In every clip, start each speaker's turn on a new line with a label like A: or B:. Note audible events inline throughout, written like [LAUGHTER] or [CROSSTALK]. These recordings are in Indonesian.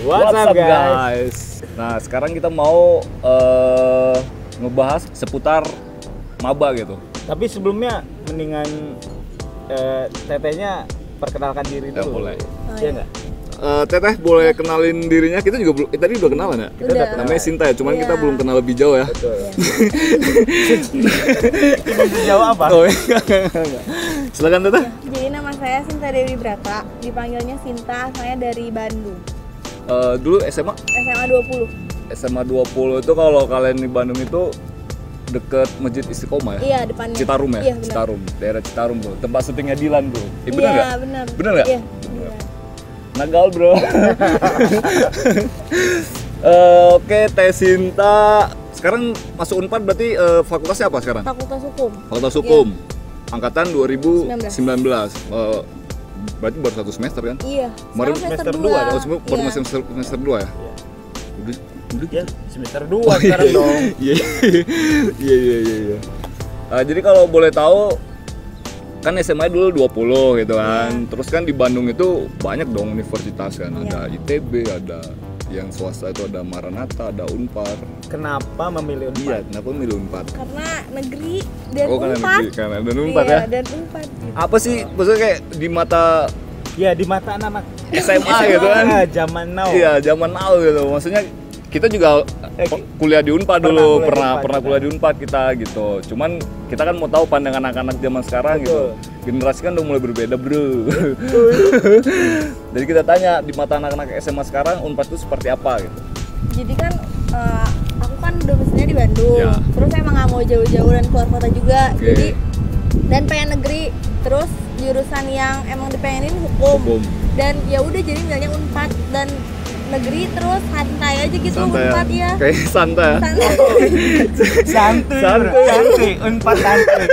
A: What's up, guys?
B: Nah sekarang kita mau eh, ngebahas seputar maba gitu.
A: Tapi sebelumnya mendingan eh, tetehnya perkenalkan diri
B: Ya,
A: dulu.
B: boleh.
C: Oh,
A: Iya
C: iya.
A: nggak?
D: Eh, teteh boleh kenalin dirinya kita juga belum eh, tadi udah kenalan ya
A: Kita udah
C: Udah.
D: namanya Sinta ya cuman
C: Iya.
D: kita belum kenal lebih jauh ya
A: Betul. Ini sejauh apa?
D: oh iya [LAUGHS] silakan teteh
C: Jadi nama saya Sinta Dewi Brata, dipanggilnya Sinta, saya dari Bandung.
B: Eh, dulu SMA
C: SMA 20.
B: SMA 20 itu kalau kalian di Bandung itu deket Masjid Istiqomah ya?
C: Iya, depannya.
B: Citarum ya?
C: Iya, benar.
B: Citarum, daerah Citarum bro. Tempat syutingnya Dilan bro. Eh, bener
C: iya,
B: nggak?
C: benar.
B: Bener nggak?
C: Iya. benar.
B: Nagal
D: [LAUGHS]
B: bro. Eh, Oke, Teh Sinta. Sekarang masuk Unpad berarti eh, fakultasnya apa sekarang?
C: Fakultas Hukum.
B: Oh.
D: Fakultas Hukum angkatan 2019 Eh, berarti baru satu semester kan
C: Iya.
D: Kemarin
C: Sekarang
A: semester
C: dua.
A: dua,
D: oh semua baru
C: Iya.
D: semester semester dua ya
A: Iya.
D: udah udah
A: Ya, semester 2 sekarang dong.
D: iya iya iya iya iya.
B: Eh, jadi kalau boleh tahu kan SMA dulu 20 gitu kan. Terus kan di Bandung itu banyak dong universitas kan. Ada ITB, ada yang swasta itu ada Maranatha, ada Unpar.
A: Kenapa memilih Unpad?
B: Iya, kenapa milih Unpar?
C: Karena negeri dan
B: oh, karena
C: Unpad.
B: negeri, karena ada Unpar
C: iya,
B: ya.
C: dan Unpad.
B: Apa sih maksudnya kayak di mata
A: Ya di mata anak-anak
B: SMA gitu kan?
A: Ah, zaman now.
B: Iya, zaman now gitu. Maksudnya kita juga
A: Eh,
B: pe- kuliah di Unpad
A: pernah
B: dulu,
A: kuliah di
B: pernah
A: Unpad
B: pernah
A: juga.
B: kuliah di Unpad kita gitu. Cuman kita kan mau tahu pandangan anak-anak zaman sekarang gitu.
A: Betul.
B: Generasi kan udah mulai berbeda, Bro. [LAUGHS] Jadi kita tanya di mata anak-anak SMA sekarang Unpad itu seperti apa gitu.
C: Jadi kan eh, aku kan udah besarnya di Bandung.
B: Iya.
C: Terus emang nggak mau jauh-jauh dan keluar kota juga.
B: Oke.
C: Jadi dan pengen negeri. Terus jurusan yang emang dipengenin
B: Bom.
C: dan ya udah jadi misalnya unpad dan negeri terus santai aja gitu unpad ya
B: Kayak santai. ya.
C: santai
A: Santuy, bro.
B: Santuy.
A: santuy, Unpad santuy.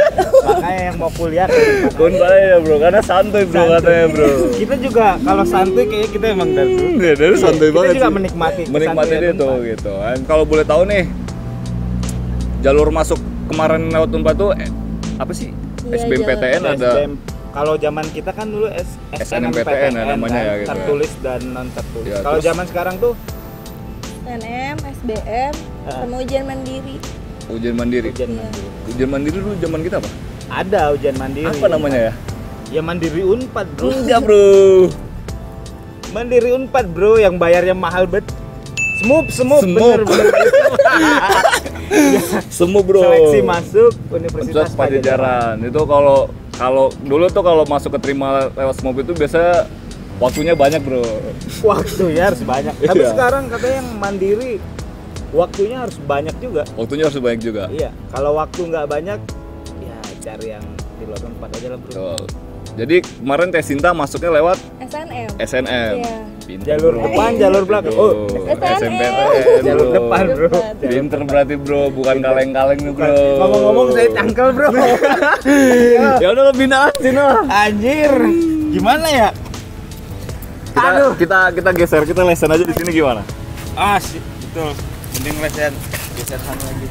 A: Makanya yang mau kuliah ke Unpad.
B: Kun ya bro, karena santai bro
A: Santuy.
B: katanya bro. Iya,
A: Kita juga kalau santuy kayaknya kita emang dari dulu.
D: ya dari santai
A: Kita
D: banget
A: juga
D: sih.
A: menikmati
B: Menikmati
A: kesantuyan
B: dia tuh
A: Unpad.
B: gitu. Dan kalau boleh tahu nih jalur masuk kemarin lewat Unpad tuh eh, apa sih?
C: Iya,
B: SBMPTN ada
A: SBM. Kalau zaman kita kan dulu S
B: SNMPTN ya namanya ya gitu ya.
A: tertulis dan non tertulis.
B: Ya,
A: Kalau
B: terus-
A: zaman sekarang tuh
C: SNM SBM
A: Ah.
C: sama ujian mandiri
B: ujian mandiri.
A: ujian
C: Iya.
A: mandiri.
B: Ujian mandiri dulu zaman kita apa?
A: Ada ujian mandiri.
B: Apa namanya
A: [LAUGHS]
B: ya?
A: Ya mandiri Unpad, Bro.
B: Enggak, Bro.
A: Mandiri Unpad, Bro, yang bayarnya mahal bet. Semup, semup,
B: Semup.
A: bener, bener.
B: Semua, [LAUGHS] Bro.
A: Seleksi masuk Universitas
B: Universitas Pajajaran. Itu kalau kalau dulu tuh kalau masuk keterima lewat mobil itu biasanya waktunya banyak, Bro.
A: Waktu ya harus banyak. Tapi
B: Iya.
A: sekarang katanya yang mandiri waktunya harus banyak juga.
B: Waktunya harus banyak juga.
A: Iya, kalau waktu nggak banyak ya cari yang di luar tempat aja lah, Bro.
B: Betul. Jadi kemarin Teh Sinta masuknya lewat
C: SNM
B: SNM.
C: Iya.
B: Pinter,
A: Jalur
B: bro.
A: depan, jalur belakang.
B: Bro.
A: Oh,
C: SNM.
B: SNMPTN,
A: jalur
B: bro.
A: depan, Bro.
C: Depan.
B: Pinter berarti, Bro. Bukan kaleng-kaleng nih, Bro.
A: Ngomong-ngomong saya cangkel, [LAUGHS] Bro.
B: Ya udah bina Cina.
A: Anjir. Gimana ya?
B: Kita, kita kita geser, kita lesen aja di sini gimana?
A: Ah, si- betul. Mending lesen geser sana lagi.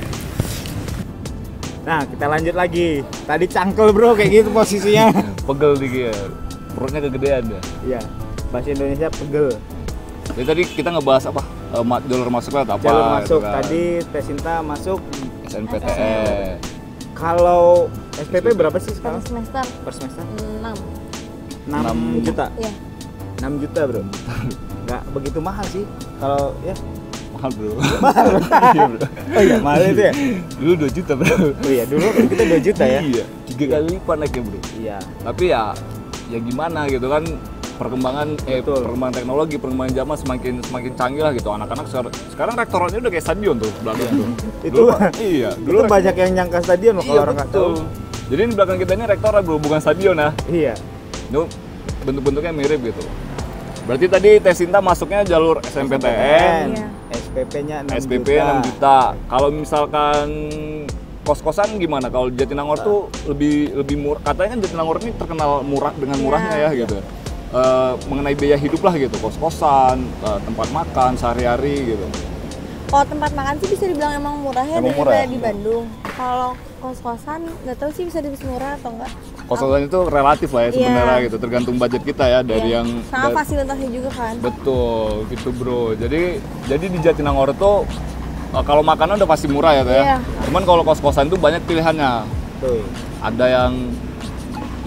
A: Nah, kita lanjut lagi. Tadi cangkel, Bro, kayak gitu posisinya.
B: Pegel dikit. Perutnya kegedean ya.
A: [LAUGHS] Iya. Bahasa Indonesia pegel.
B: Jadi tadi kita ngebahas apa? Eh, ma- jalur masuk lewat apa?
A: Jalur
B: gitu
A: masuk
B: kan.
A: tadi Tesinta masuk.
B: SNPTN.
A: Kalau SPP berapa sih
C: per
A: sekarang?
C: semester
A: Per semester? 6
C: 6
B: Enam.
A: juta.
C: ya
A: 6 juta, [LAUGHS] Bro. Nggak begitu mahal sih. Kalau ya
B: Mahal, Bro. Iya, bro.
A: Oh iya, mahal itu ya. [LAUGHS]
B: Dulu 2 juta, Bro.
A: Oh iya, dulu kan kita 2 juta ya.
B: Iya, tiga kali lipat naiknya, Bro.
A: Iya.
B: tapi ya ya gimana gitu kan perkembangan eh,
A: Betul.
B: perkembangan teknologi perkembangan zaman semakin semakin canggih lah gitu anak-anak sekarang, sekarang rektoratnya udah kayak stadion tuh belakang tuh
A: Itu
B: Dulu, [LAUGHS] iya dulu
A: dulu banyak yang nyangka stadion loh
B: iya
A: kalau orang nggak
B: betul
A: tahu.
B: jadi di belakang kita ini rektorat bro bukan stadion ya
A: Iya.
B: itu bentuk-bentuknya mirip gitu berarti tadi Teh Sinta masuknya jalur SMPTN
C: Iya.
A: SPP-nya 6
B: SPP
A: juta.
B: 6 juta kalau misalkan kos-kosan gimana kalau Jatinangor tuh lebih lebih murah katanya kan Jatinangor ini terkenal murah dengan
C: Iya.
B: murahnya ya gitu Eh, mengenai biaya hidup lah gitu kos-kosan eh, tempat makan sehari-hari gitu
C: kalau tempat makan sih bisa dibilang emang murah ya
B: Emang
C: daripada
B: murah ya?
C: di Bandung kalau kos kosan nggak tahu sih bisa disebut murah atau enggak
B: konsultan itu relatif lah ya sebenarnya
C: Iya.
B: gitu tergantung budget kita ya dari yang
C: sama
B: da-
C: fasilitasnya juga kan
B: betul gitu bro jadi jadi di Jatinangor tuh eh, kalau makanan udah pasti murah ya tuh ya
C: Iya.
B: cuman kalau kos kosan tuh banyak pilihannya
A: Tuh.
B: ada yang 500.000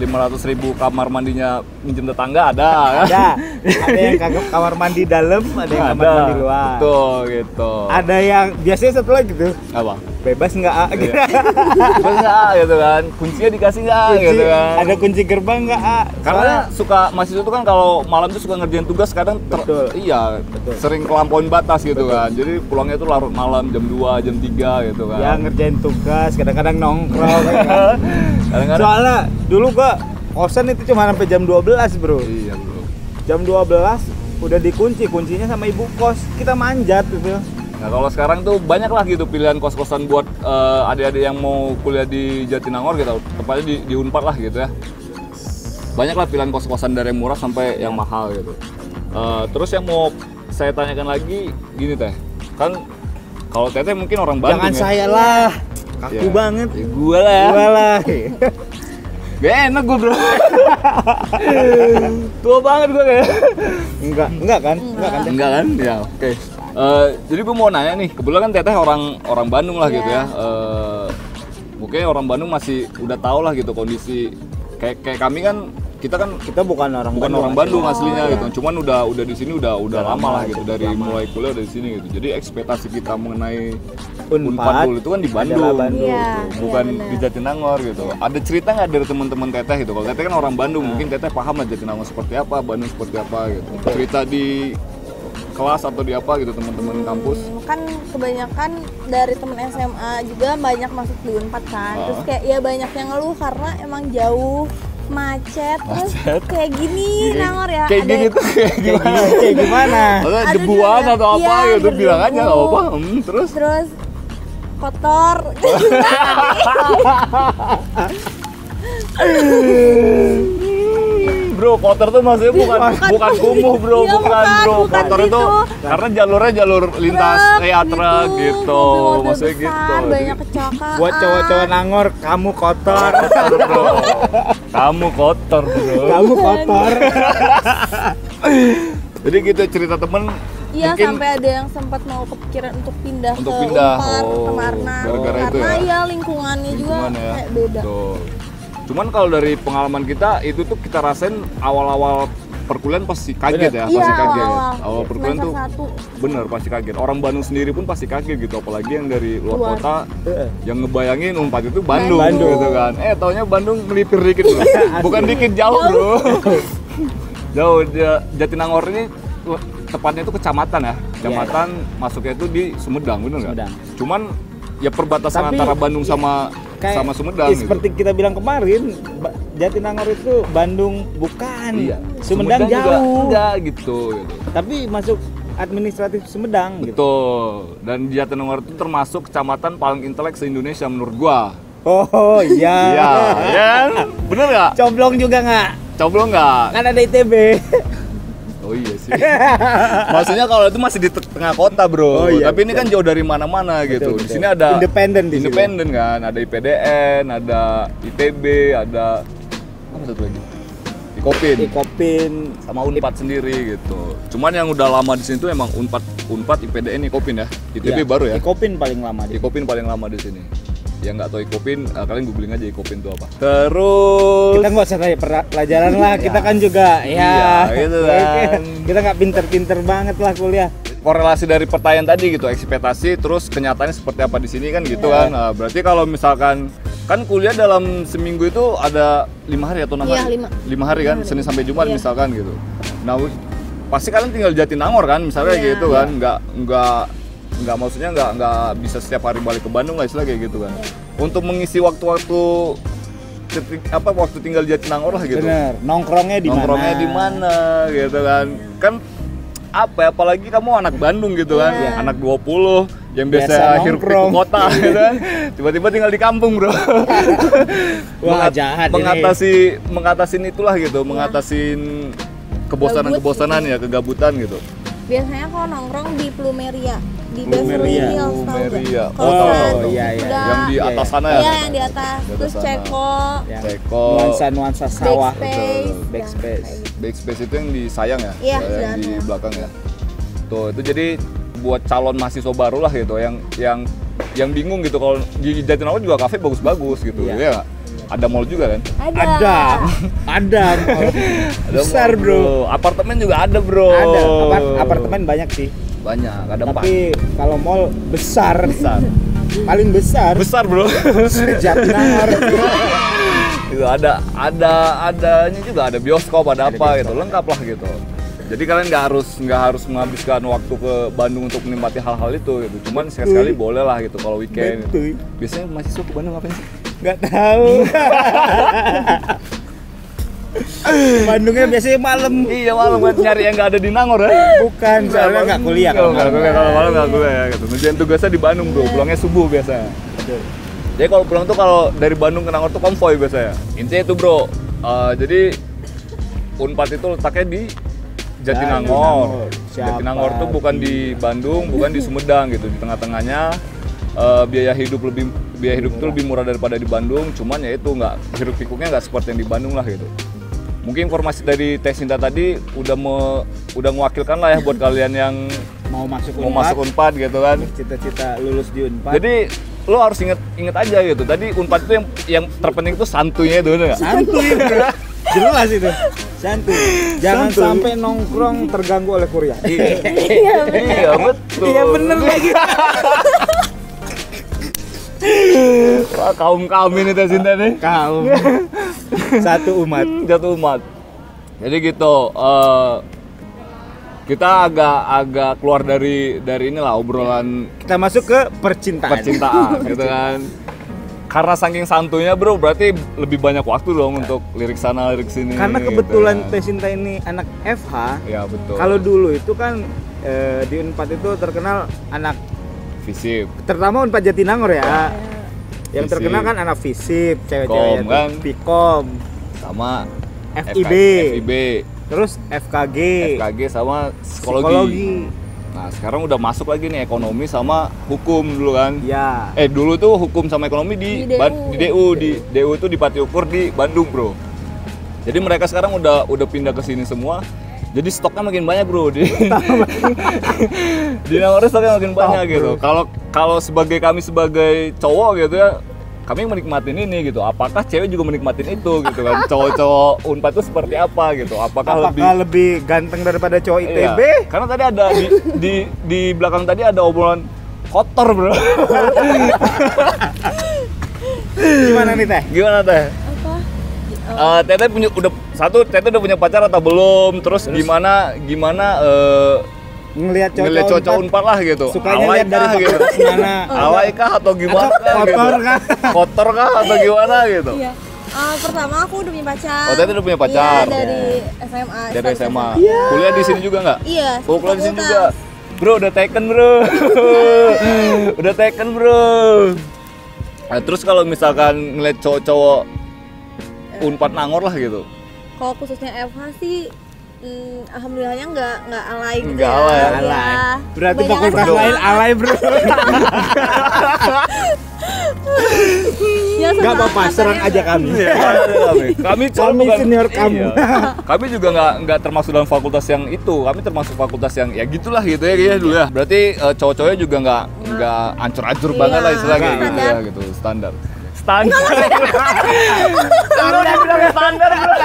B: ribu kamar mandinya minjem tetangga ada
A: Ada. Ada yang kagak kamar mandi dalam, ada yang kamar mandi luar.
B: betul gitu
A: Ada yang biasanya satu lagi tuh
B: apa
A: bebas nggak? A? Gitu.
B: Iya. Bebas nggak gitu kan kuncinya dikasih nggak
A: Kunci-
B: gitu kan
A: Ada kunci gerbang nggak? A?
B: karena suka mahasiswa itu kan kalau malam tuh suka ngerjain tugas kadang ter-
A: Betul.
B: iya
A: Betul.
B: sering kelampauin batas gitu kan jadi pulangnya tuh larut malam jam 2 jam 3 gitu kan
A: ya ngerjain tugas, kadang-kadang nongkrong. ya kan?
B: [LAUGHS] kadang-kadang
A: Soalnya dulu gua kosan itu cuma sampai jam 12, Bro.
B: iya bro
A: Jam 12 udah dikunci, kuncinya sama ibu kos. Kita manjat gitu.
B: Nah kalau sekarang tuh banyak lah gitu pilihan kos-kosan buat eh, adik-adik yang mau kuliah di Jatinangor gitu, tepatnya di, di Unpad lah gitu ya. Banyak lah pilihan kos-kosan dari yang murah sampai yang mahal gitu. Eh, terus yang mau saya tanyakan lagi gini teh, kan kalau teteh mungkin orang Bandung
A: Jangan
B: ya.
A: saya lah. Kaku
B: Ya,
A: banget.
B: ya gua lah ya.
A: Gua lah. [LAUGHS]
B: Gak enak gua bro. [LAUGHS] Tua banget gua kayaknya.
A: Enggak, enggak kan? Enggak kan?
B: Enggak kan? Ya, oke. Eh, jadi gue mau nanya nih, kebetulan kan Teteh orang orang Bandung lah gitu ya. Eh, mungkin orang Bandung masih udah tau lah gitu kondisi kayak kayak kami kan kita kan
A: Kita bukan orang
B: bukan orang Bandung aslinya gitu. Cuman udah udah di sini udah udah lama lah gitu dari mulai kuliah udah di sini gitu. Jadi ekspektasi kita mengenai
A: Unpad,
B: Unpad dulu itu kan di Bandung,
A: adalah Bandung.
C: Iya,
B: gitu.
C: iya,
B: bukan
C: benar.
B: di Jatinangor gitu. Ada cerita nggak dari teman-teman Teteh gitu? Kalau Teteh kan orang Bandung, mungkin Teteh paham lah Jatinangor seperti apa, Bandung seperti apa gitu. Cerita di kelas atau di apa gitu teman-teman kampus.
C: Hmm, kan kebanyakan dari temen SMA juga banyak masuk di Unpad kan
B: Ah.
C: terus kayak ya banyak yang ngeluh karena emang jauh macet,
B: Macet.
C: terus kayak gini nangor ya
B: Kayak
C: ada-
B: gini tuh kayak
A: Kayak
B: gimana?
A: gini, [LAUGHS] kayak gimana?
B: Maksudnya
C: [LAUGHS] Ada
B: debuan
C: juga.
B: atau apa
C: Iya,
B: gitu bilang aja nggak
C: berdebu.
B: apa hmm, terus
C: terus kotor
B: bro kotor tuh maksudnya bukan
C: Iya, Bukan.
B: bukan kumuh bro
C: Iya,
B: bukan
C: bukan,
B: bro
C: bukan
B: kotor
C: gitu.
B: itu karena jalurnya jalur
C: [LAUGHS]
B: lintas
C: Truk
B: kayak truk gitu
C: mobil-mobil
B: maksudnya
C: besar,
B: gitu
C: banyak
B: Jadi,
C: kecelakaan
A: Buat cowok-cowok nangor, kamu kotor.
B: kotor, bro kamu kotor bro
A: kamu kotor.
B: jadi gitu cerita temen
C: Iya
B: mungkin
C: sampai ada yang sempat mau kepikiran untuk pindah
B: Untuk
C: ke
B: pindah.
C: Unpad,
B: Oh,
C: ke Marna
B: gara-gara itu
C: karena
B: ya?
C: ya lingkungannya juga
B: lingkungan ya
C: kayak beda.
B: Betul. cuman kalau dari pengalaman kita itu tuh kita rasain awal-awal perkuliahan pasti kaget ya
A: Bener.
B: pasti kaget
C: awal,
B: awal perkuliahan
C: Iya, semester
B: tuh
C: satu.
B: bener pasti kaget orang Bandung sendiri pun pasti kaget gitu apalagi yang dari luar
C: Luar.
B: kota yang ngebayangin Unpad itu Bandung,
A: Bandung.
B: gitu kan eh taunya Bandung melipir dikit
A: [LAUGHS]
B: bro bukan dikit jauh bro [LAUGHS] jauh Ja- Jatinangor ini lu- tepatnya itu kecamatan ya kecamatan masuknya itu di Sumedang bener nggak
A: Iya, Sumedang.
B: cuman ya
A: Tapi,
B: perbatasan
A: iya,
B: antara Bandung sama
A: Kayak-
B: sama Sumedang
A: ya,
B: gitu.
A: seperti kita bilang kemarin, Ba- Jatinangor itu Bandung bukan.
B: Iya.
A: Sumedang,
B: juga
A: jauh.
B: enggak gitu gitu
A: Tapi masuk administratif Sumedang gitu.
B: betul dan Jatinangor itu termasuk kecamatan paling intelek se Indonesia menurut gua
A: Oh iya. [LAUGHS]
B: Iya, ya kan? Bener nggak?
A: Coblong juga nggak?
B: Coblong nggak?
A: Kan ada ITB.
B: Oh iya sih. [LAUGHS] Maksudnya kalau itu masih di te- tengah kota bro.
A: Oh iya,
B: Tapi ini kan jauh dari mana-mana gitu.
A: betul.
B: Di sini ada
A: Independen di sini.
B: independen kan. Ada IPDN, ada ITB, ada apa satu lagi? Ikopin
A: Ikopin.
B: sama Unpad sendiri gitu. Cuman yang udah lama di sini tuh emang Unpad, Unpad, IPDN, Ikopin ya. ITB
A: Iya,
B: baru ya.
A: Ikopin paling lama. deh.
B: Ikopin paling lama di sini. Yang nggak tahu Ikopin, eh, kalian googling aja Ikopin itu apa. Terus
A: Kita nggak usah tanya per- pelajaran lah. Kita kan juga ya.
B: Iya,
A: [LAUGHS]
B: gitu kan.
A: kita nggak pinter-pinter banget lah kuliah.
B: korelasi dari pertanyaan tadi gitu ekspektasi terus kenyataannya seperti apa di sini kan gitu
C: Iya.
B: kan Nah, berarti kalau misalkan kan kuliah dalam seminggu itu ada lima hari atau enam
C: Iya,
B: hari
C: lima.
B: hari kan
C: Lima hari.
B: senin sampai jumat
C: Iya.
B: misalkan gitu nah w- pasti kalian tinggal jatinangor kan misalnya
C: Iya.
B: gitu kan nggak nggak nggak maksudnya nggak nggak bisa setiap hari balik ke Bandung lah istilah kayak gitu
C: Iya.
B: kan untuk mengisi waktu-waktu ketik- apa waktu tinggal jatinangor lah gitu
A: Bener. Nongkrongnya di mana?
B: nongkrongnya di mana gitu kan kan apa ya, apalagi kamu anak Bandung gitu kan
C: Iya.
B: anak 20 yang biasa,
A: Biasa
B: akhir
A: nongkrong. Iya.
B: kota gitu kan tiba-tiba tinggal di kampung
A: [LAUGHS]
B: bro
A: Wah,
B: Mengat-
A: jahat ini. Iya.
B: mengatasi mengatasin itulah gitu mengatasin kebosanan kebosanan ya kegabutan gitu
C: Biasanya kalau nongkrong di Plumeria. di
A: Blueberry
C: Beverly
A: ya?
C: Hills tau nggak?
B: Blueberry ya.
C: Iya, Kalau
B: Oh,
C: nggak-
B: tahu.
A: iya iya.
C: Nggak.
B: yang di
A: Iya,
B: atas
A: iya.
B: sana ya
C: Iya yang di atas.
B: Di
C: Terus
B: sana. Iya,
C: Ceko,
A: Yang
B: Ceko.
A: nuansa nuansa Ya. sawah.
C: Backspace,
A: Betul. Backspace.
C: ya, kayak gitu.
B: backspace itu yang di sayang ya
C: Iya,
B: yang di
C: sayang.
B: belakang ya tuh itu jadi buat calon mahasiswa baru lah gitu yang yang yang bingung gitu kalau di Jatinangor juga kafe bagus-bagus gitu
A: Iya.
B: ya nggak? ada mall juga kan
C: Ada.
A: Ada,
B: [LAUGHS]
A: ada,
B: ada
A: besar
B: mall,
A: bro.
B: apartemen juga ada bro
A: Ada, Apart- apartemen banyak sih.
B: banyak ada empat
A: Tapi kalau mall besar,
B: besar
A: paling besar.
B: besar [LAUGHS] bro
A: Jatinangor.
B: [LAUGHS] Gitu, ada ada adanya juga ada bioskop ada, apa gitu lengkap lah gitu jadi kalian nggak harus nggak harus menghabiskan waktu ke Bandung untuk menikmati hal-hal itu gitu cuman sekali-sekali boleh lah gitu kalau weekend
A: Betul.
B: biasanya mahasiswa ke Bandung ngapain sih
A: Nggak tahu. Bandungnya biasanya malam.
B: iya malam kan nyari yang nggak ada di Nangor ya
A: Bukan, Kan soalnya nggak kuliah
B: kalau
A: kalau Iya.
B: nggak kuliah kalau malam nggak kuliah ya gitu ngerjain tugasnya di Bandung bro pulangnya subuh biasanya
A: Betul.
B: Jadi kalau pulang tuh kalau dari Bandung ke Nangor tuh konvoy biasanya. Intinya itu bro. Eh, jadi Unpad itu letaknya di Jatinangor.
A: Jatinangor. Siapa
B: Jatinangor tuh bukan di Bandung, bukan di Sumedang gitu. Di tengah-tengahnya eh, biaya hidup lebih biaya hidup itu lebih murah daripada di Bandung. Cuman ya itu nggak hiruk pikuknya nggak seperti yang di Bandung lah gitu. Mungkin informasi dari Teh Sinta tadi udah me, udah mewakilkan lah ya buat kalian yang
A: Mau masuk
B: mau masuk Unpad gitu kan.
A: cita-cita lulus di Unpad.
B: Jadi lo harus inget inget aja gitu. Tadi unpad itu yang yang terpenting itu santunya ya. itu enggak?
A: santuy bro. Jelas itu. Santuy. Jangan
B: Santuy.
A: sampai nongkrong terganggu oleh kuliah.
B: Iya, iya betul.
A: Iya bener lagi.
B: Wah, kaum kaum ini teh Sinta nih.
A: Kau satu umat.
B: Jatuh umat. Jadi gitu. eh, kita agak agak keluar dari dari inilah obrolan
A: Kita masuk ke percintaan. [LAUGHS]
B: percintaan gitu kan. Karena saking santunya bro, berarti lebih banyak waktu dong untuk lirik sana lirik sini.
A: Kan. Karena
B: gitu
A: kebetulan
B: kan.
A: Teh Sinta ini anak FH.
B: Ya betul.
A: Kalau dulu itu kan eh, di Unpad itu terkenal anak
B: visip,
A: terutama Unpad Jatinangor
C: Iya.
A: ya. Yang
B: Fisip.
A: terkenal kan anak fisip,
B: Kom,
A: cewek-cewek
B: kan?
A: itu. Pikom,
B: sama
A: FIB,
B: FIB,
A: terus FKG,
B: FKG sama psikologi.
A: psikologi.
B: Nah, sekarang udah masuk lagi nih ekonomi sama hukum dulu kan.
A: Ya.
B: Eh, dulu tuh hukum sama ekonomi di
C: Di DU.
B: Ban- di DU, di DU itu di Pati Ukur di Bandung, Bro. Jadi mereka sekarang udah udah pindah ke sini semua. Jadi stoknya makin banyak, Bro. [LAUGHS] Di Di Nangor stoknya makin banyak gitu. Kalau kalau sebagai kami sebagai cowok gitu ya, kami menikmatin ini gitu. Apakah cewek juga menikmatin itu gitu [LAUGHS] kan? Cowok-cowok Unpad itu seperti apa gitu? Apakah, lebih
A: Apakah lebih ganteng daripada cowok
B: Iya,
A: ITB?
B: Karena tadi ada di, di di belakang tadi ada obrolan kotor, Bro.
A: Gimana nih Teh?
B: Gimana Teh?
C: Apa?
B: Eh, Teteh punya udah satu Teteh udah punya pacar atau belum? Terus, gimana gimana eh
A: Ngelihat cowok
B: ngeliat cowok unpad lah gitu.
A: Sukanya lihat dari
B: kah gitu.
A: fakultas mana?
B: [LAUGHS]
C: Oh,
B: Alay kah atau gimana? kah,
A: Kotor
B: gitu?
A: kah?
B: Kotor kah atau gimana gitu?
C: Iya. Eh, pertama aku udah punya pacar.
B: Oh, tadi udah punya pacar.
C: Iya, dari SMA.
B: Dari
C: start
B: SMA. Kuliah di sini juga nggak?
C: Iya.
B: Oh, kuliah di sini
C: fakultas.
B: juga. Bro, udah taken, Bro. [LAUGHS] udah taken, Bro. Nah, terus kalau misalkan ngeliat cowok-cowok Unpad Nangor lah gitu.
C: Kalau khususnya FH sih Hmm, alhamdulillahnya nggak nggak alay gitu
B: Nggak alay.
C: Iya.
A: Alay. Berarti
C: Kebanyakan
A: fakultas
C: sama-
A: lain alay bro.
C: Ya, sama
A: Gak apa-apa,
C: angkatannya
A: serang aja
C: nggak-
A: kami.
B: kami. Kami,
A: Iya.
B: cowok
A: Kami
B: bukan- Iya.
A: senior kamu.
B: [LAUGHS] Kami juga nggak nggak termasuk dalam fakultas yang itu. Kami termasuk fakultas yang ya gitulah gitu ya kayaknya dulu ya. Berarti eh, cowok-cowoknya juga nggak nggak ancur-ancur
C: Iya,
B: banget lah istilahnya gitu
C: standar.
B: ya gitu standar. Standar. standar bro, standar bro.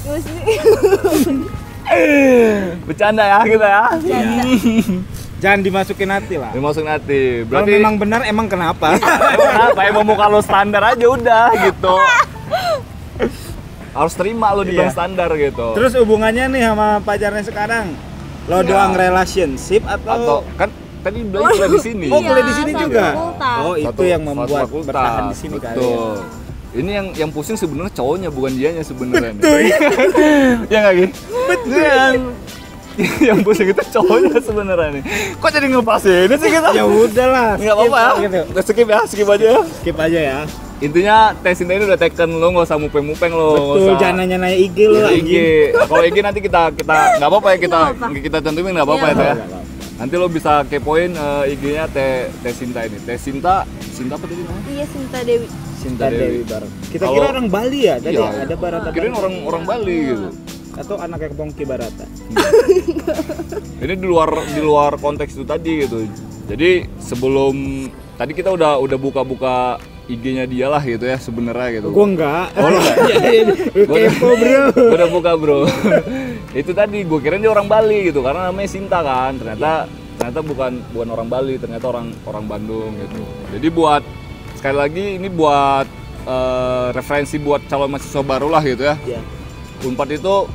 C: Terus nih,
B: Bercanda ya kita ya.
A: Jangan dimasukin hati lah.
B: Dimasukin
A: Kalau
B: hati. Berarti
A: memang benar emang
B: [LAUGHS]
A: kenapa?
B: emang apa emang mau kalau standar aja udah gitu. Harus terima lo di
A: Iya.
B: standar gitu.
A: Terus hubungannya nih sama pacarnya sekarang? Lo doang relationship
B: Iya. atau
A: atau,
B: kan tadi bilang kuliah di sini.
A: eh, Oh, kuliah di
C: Iya,
A: sini
C: satu
A: juga.
C: fakultas.
A: Oh, itu
B: Satu-
A: yang
B: satu
A: membuat
B: fakultas.
A: bertahan di sini kali. ya.
B: Betul. Ini yang yang pusing sebenarnya cowoknya bukan dianya sebenarnya. Betul. ya nggak Gi? Betul. Yang, [LAUGHS] yang pusing itu cowoknya sebenarnya nih. Kok jadi ngepasin sih kita?
A: Ya udahlah.
B: Nggak apa-apa ya.
A: skip gitu.
B: Skip ya, skip aja ya.
A: Skip aja ya.
B: intinya tes ini udah taken lo nggak usah mupeng-mupeng lo nggak
A: Betul,
B: usah-
A: jangan nanya-nanya IG lu
B: Iya, IG.
A: lagi.
B: Kalau IG nanti kita kita nggak apa-apa ya kita
C: Nggak apa.
B: kita cantumin nggak apa-apa ya
C: Iya.
B: Teh, ya. Nanti lo bisa kepoin eh, IG-nya Teh Teh Sinta ini. Teh Sinta Sinta apa tadi namanya?
C: Iya Sinta Dewi.
B: Sinta
A: Kita Dewi
B: Dewi.
A: bareng. Kita
B: Kalau-
A: kira orang Bali ya, tadi
B: Iya.
A: ada Barata.
B: Kirain
A: Bali.
B: orang orang Bali gitu.
A: atau anaknya Kepongki Barata.
B: Ini di luar di luar konteks itu tadi gitu. Jadi sebelum tadi kita udah udah buka-buka IG-nya dia lah gitu ya sebenarnya gitu.
A: Gua enggak.
B: Oh, lu nggak?
A: [LAUGHS] Iya, iya, iya.
B: Gua-
A: Kepo, Bro.
B: Gua udah buka bro [LAUGHS] itu tadi gue kira dia orang Bali gitu karena namanya Sinta kan ternyata ternyata bukan bukan orang Bali ternyata orang orang Bandung gitu jadi buat sekali lagi ini buat eh, referensi buat calon mahasiswa baru lah gitu ya
A: Iya.
B: Unpad itu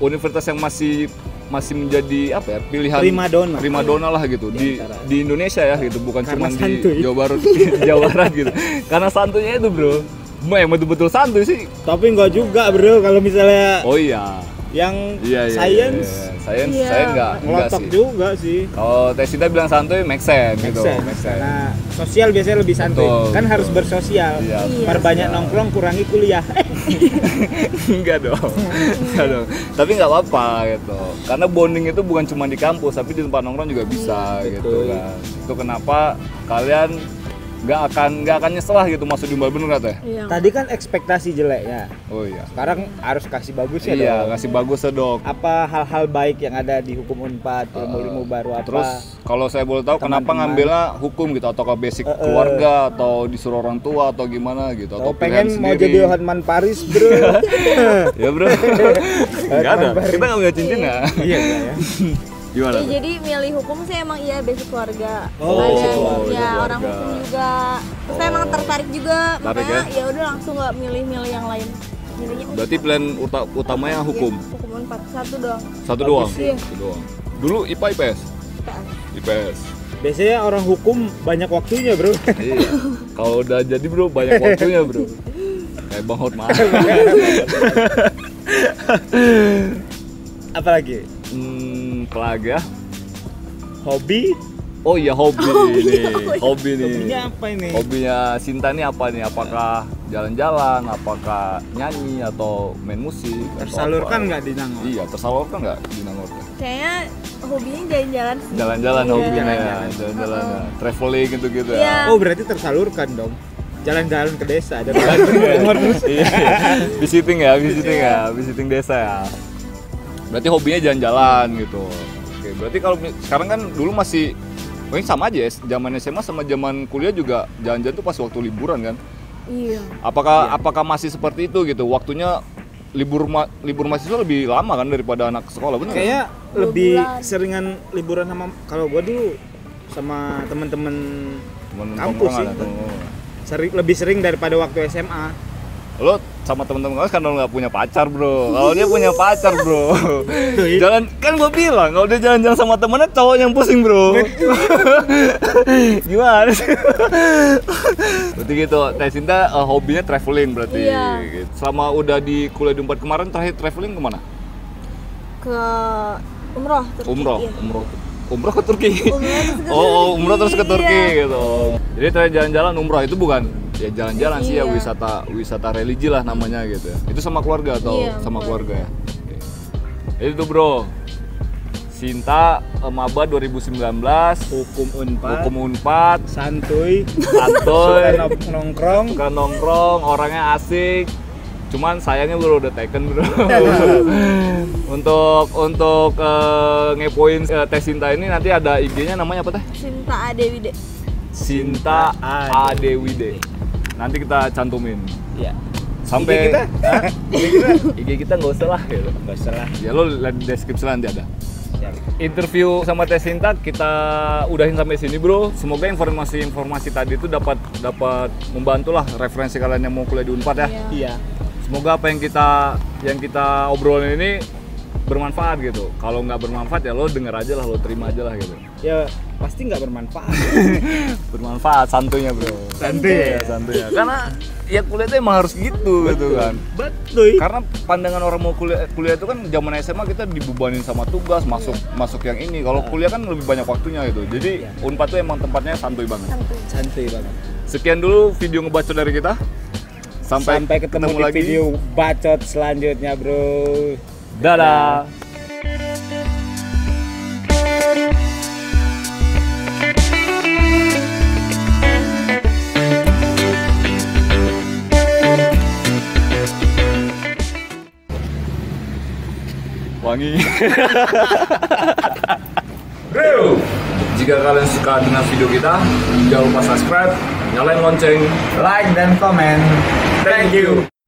B: universitas yang masih masih menjadi apa ya pilihan
A: Primadona.
B: primadona lah gitu di
A: antara-
B: di Indonesia ya gitu bukan
A: Karena
B: cuma
A: santuy.
B: di Jawa Barat [LAUGHS] Jawa Barat gitu karena santunya itu bro Emang betul-betul santuy sih
A: Tapi enggak juga, Bro. Kalau misalnya
B: Oh iya.
A: yang
B: Iya iya.
A: science
B: iya, iya. Science
C: Iya.
B: saya enggak enggak
A: ngelotok
B: sih.
A: juga sih.
B: Kalau Teh Sinta bilang santuy make sense
A: Make
B: gitu.
A: sense, make sense.
B: [LAUGHS]
A: Nah, sosial biasanya lebih santai.
B: Betul,
A: kan
B: betul.
A: harus bersosial.
B: Iya.
C: Iya.
A: Perbanyak
B: Iya.
A: nongkrong, kurangi kuliah. Eh,
B: enggak dong. Enggak dong. Tapi enggak apa-apa gitu. Karena bonding itu bukan cuma di kampus, tapi di tempat nongkrong juga bisa gitu
A: Hmm, Betul.
B: kan. Itu kenapa kalian nggak akan nggak akan nyesel lah gitu masuk di Umbal bener nggak, Teh?
C: Iya.
A: Tadi kan ekspektasi jeleknya.
B: Oh iya.
A: Sekarang harus kasih bagusnya
B: Iya,
A: dong.
B: kasih bagus ya, Dok.
A: Apa hal-hal baik yang ada di hukum Unpad, ilmu-ilmu baru apa?
B: Eh, Terus kalau saya boleh tahu kenapa
A: Teman-teman.
B: ngambilnya hukum gitu atau ke
A: Eh,
B: basic
A: eh.
B: keluarga atau disuruh orang tua atau gimana gitu atau
A: Tahu
B: pilihan
A: pengen mau
B: sendiri.
A: jadi Hotman Paris,
B: [LAUGHS]
A: Bro.
B: ya
A: [LAUGHS]
B: bro nggak ada
A: Kenapa?
B: kita nggak punya cincin ya
A: Iya, enggak ya.
B: gimana
C: Ya, jadi milih hukum sih emang iya basic keluarga.
A: Oh,
C: Ada-
A: basic keluarga.
C: ya orang hukum juga. Terus saya emang tertarik juga,
B: Oh. Tertarik
C: makanya ya udah langsung nggak milih-milih yang lain. Milihnya hukum.
B: berarti pilihan uta- utamanya
C: Iya,
B: hukum
C: Hukum empat satu doang.
B: satu doang
C: sih.
B: satu doang dulu IPA IPS
C: IPS.
B: IPS
A: [LAUGHS] Biasanya orang hukum banyak waktunya, Bro. [LAUGHS]
B: iya kalau udah jadi bro banyak waktunya bro kayak bang Hot
A: [LAUGHS]
B: maaf
A: Apalagi
B: hmm, pelaga
A: hobi?
B: oh iya hobi nih hobi nih
A: iya. Hobinya apa ini?
B: hobinya Sinta nih apa nih apakah jalan-jalan apakah nyanyi atau main musik atau
A: Tersalurkan
B: apa?
A: nggak di Nangor?
B: iya tersalurkan nggak di Nangor Teh?
C: Kayaknya hobinya jalan-jalan. sih.
B: jalan-jalan
C: Iya.
B: hobinya ya,
A: Jalan-jalan.
B: jalan-jalan ya. traveling gitu-gitu
C: Iya.
B: ya.
A: Oh, berarti tersalurkan dong. Jalan-jalan ke desa
B: [LAUGHS]
A: ada banyak
B: Iya. visiting ya, visiting ya, visiting desa ya. Berarti hobinya jalan-jalan gitu. Oke, berarti kalau mi- sekarang kan dulu masih oh ini sama aja ya, zaman SMA sama zaman kuliah juga jalan-jalan tuh pas waktu liburan kan.
C: Iya.
B: Apakah apakah masih seperti itu gitu? Waktunya libur ma- libur mahasiswa lebih lama kan daripada anak sekolah benar?
A: Hmm. Kayaknya
C: Dua
A: lebih
C: bulan.
A: seringan liburan sama kalau gua dulu sama temen-temen kampus sih.
B: Oh.
A: Seri- lebih sering daripada waktu SMA.
B: lo sama temen-temen kamu karena lo nggak punya pacar bro kalau dia punya pacar bro
A: Tuh, i-
B: jalan kan gue bilang kalau dia jalan-jalan sama temennya cowok yang pusing bro gimana sih berarti gitu Teh Sinta eh, hobinya traveling berarti
C: Iya.
B: Gitu. selama udah di kuliah di Unpad kemarin terakhir traveling kemana
C: Ke umroh. Turki,
B: umroh
C: iya.
B: umroh umroh ke Turki
C: Umroh terus
B: [LAUGHS]
C: ke
B: oh, oh, umroh terus ke
C: Turki,
B: Turki
C: iya.
B: gitu jadi terakhir jalan-jalan umroh itu bukan ya jalan-jalan sih ya
C: Iya.
B: wisata wisata religi lah namanya gitu ya. itu sama keluarga atau
C: Iya,
B: sama
C: keluarga.
B: keluarga ya Oke. itu bro Sinta eh, Maba 2019
A: Hukum Unpad,
B: hukum unpad
A: santuy, suka
B: santuy
A: nong- nongkrong.
B: suka nongkrong orangnya asik cuman sayangnya bro udah taken [LAUGHS] bro untuk untuk eh, ngepoin eh, Teh Sinta ini nanti ada IG-nya namanya apa teh
C: Sinta Adewi deh.
B: Sinta
A: A.
B: A Dewi D. Nanti kita cantumin
A: Iya.
B: sampai
A: IG kita?
B: Hah? IG kita nggak usah lah gitu.
A: Enggak salah.
B: Ya lo lihat di deskripsi nanti ada.
C: Nah.
A: Siap.
B: Interview sama Teh Sinta kita udahin sampai sini bro. Semoga informasi-informasi tadi itu dapat dapat membantu lah referensi kalian yang mau kuliah di Unpad ya.
A: Iya.
B: Semoga apa yang kita yang kita obrolin ini bermanfaat gitu. Kalau nggak bermanfaat ya lo denger aja lah, lo terima aja lah gitu.
A: Ya pasti nggak bermanfaat. [LAUGHS]
B: Bermanfaat santunya bro.
A: Santuy.
B: ya santuy ya. karena ya kuliah itu emang harus gitu gitu kan
A: Betul.
B: karena pandangan orang mau kuliah kuliah itu kan zaman SMA kita dibebanin sama tugas masuk masuk yang ini kalau kuliah kan lebih banyak waktunya gitu jadi unpad tuh emang tempatnya santuy banget
A: Santuy banget.
B: Sekian dulu video ngebacot dari kita. Sampai,
A: Sampai ketemu, di
B: lagi.
A: video bacot selanjutnya, bro.
B: Dadah. Wangi. Bro, jika kalian suka dengan video kita, jangan lupa subscribe, nyalain lonceng,
E: Like dan komen.
B: Thank you.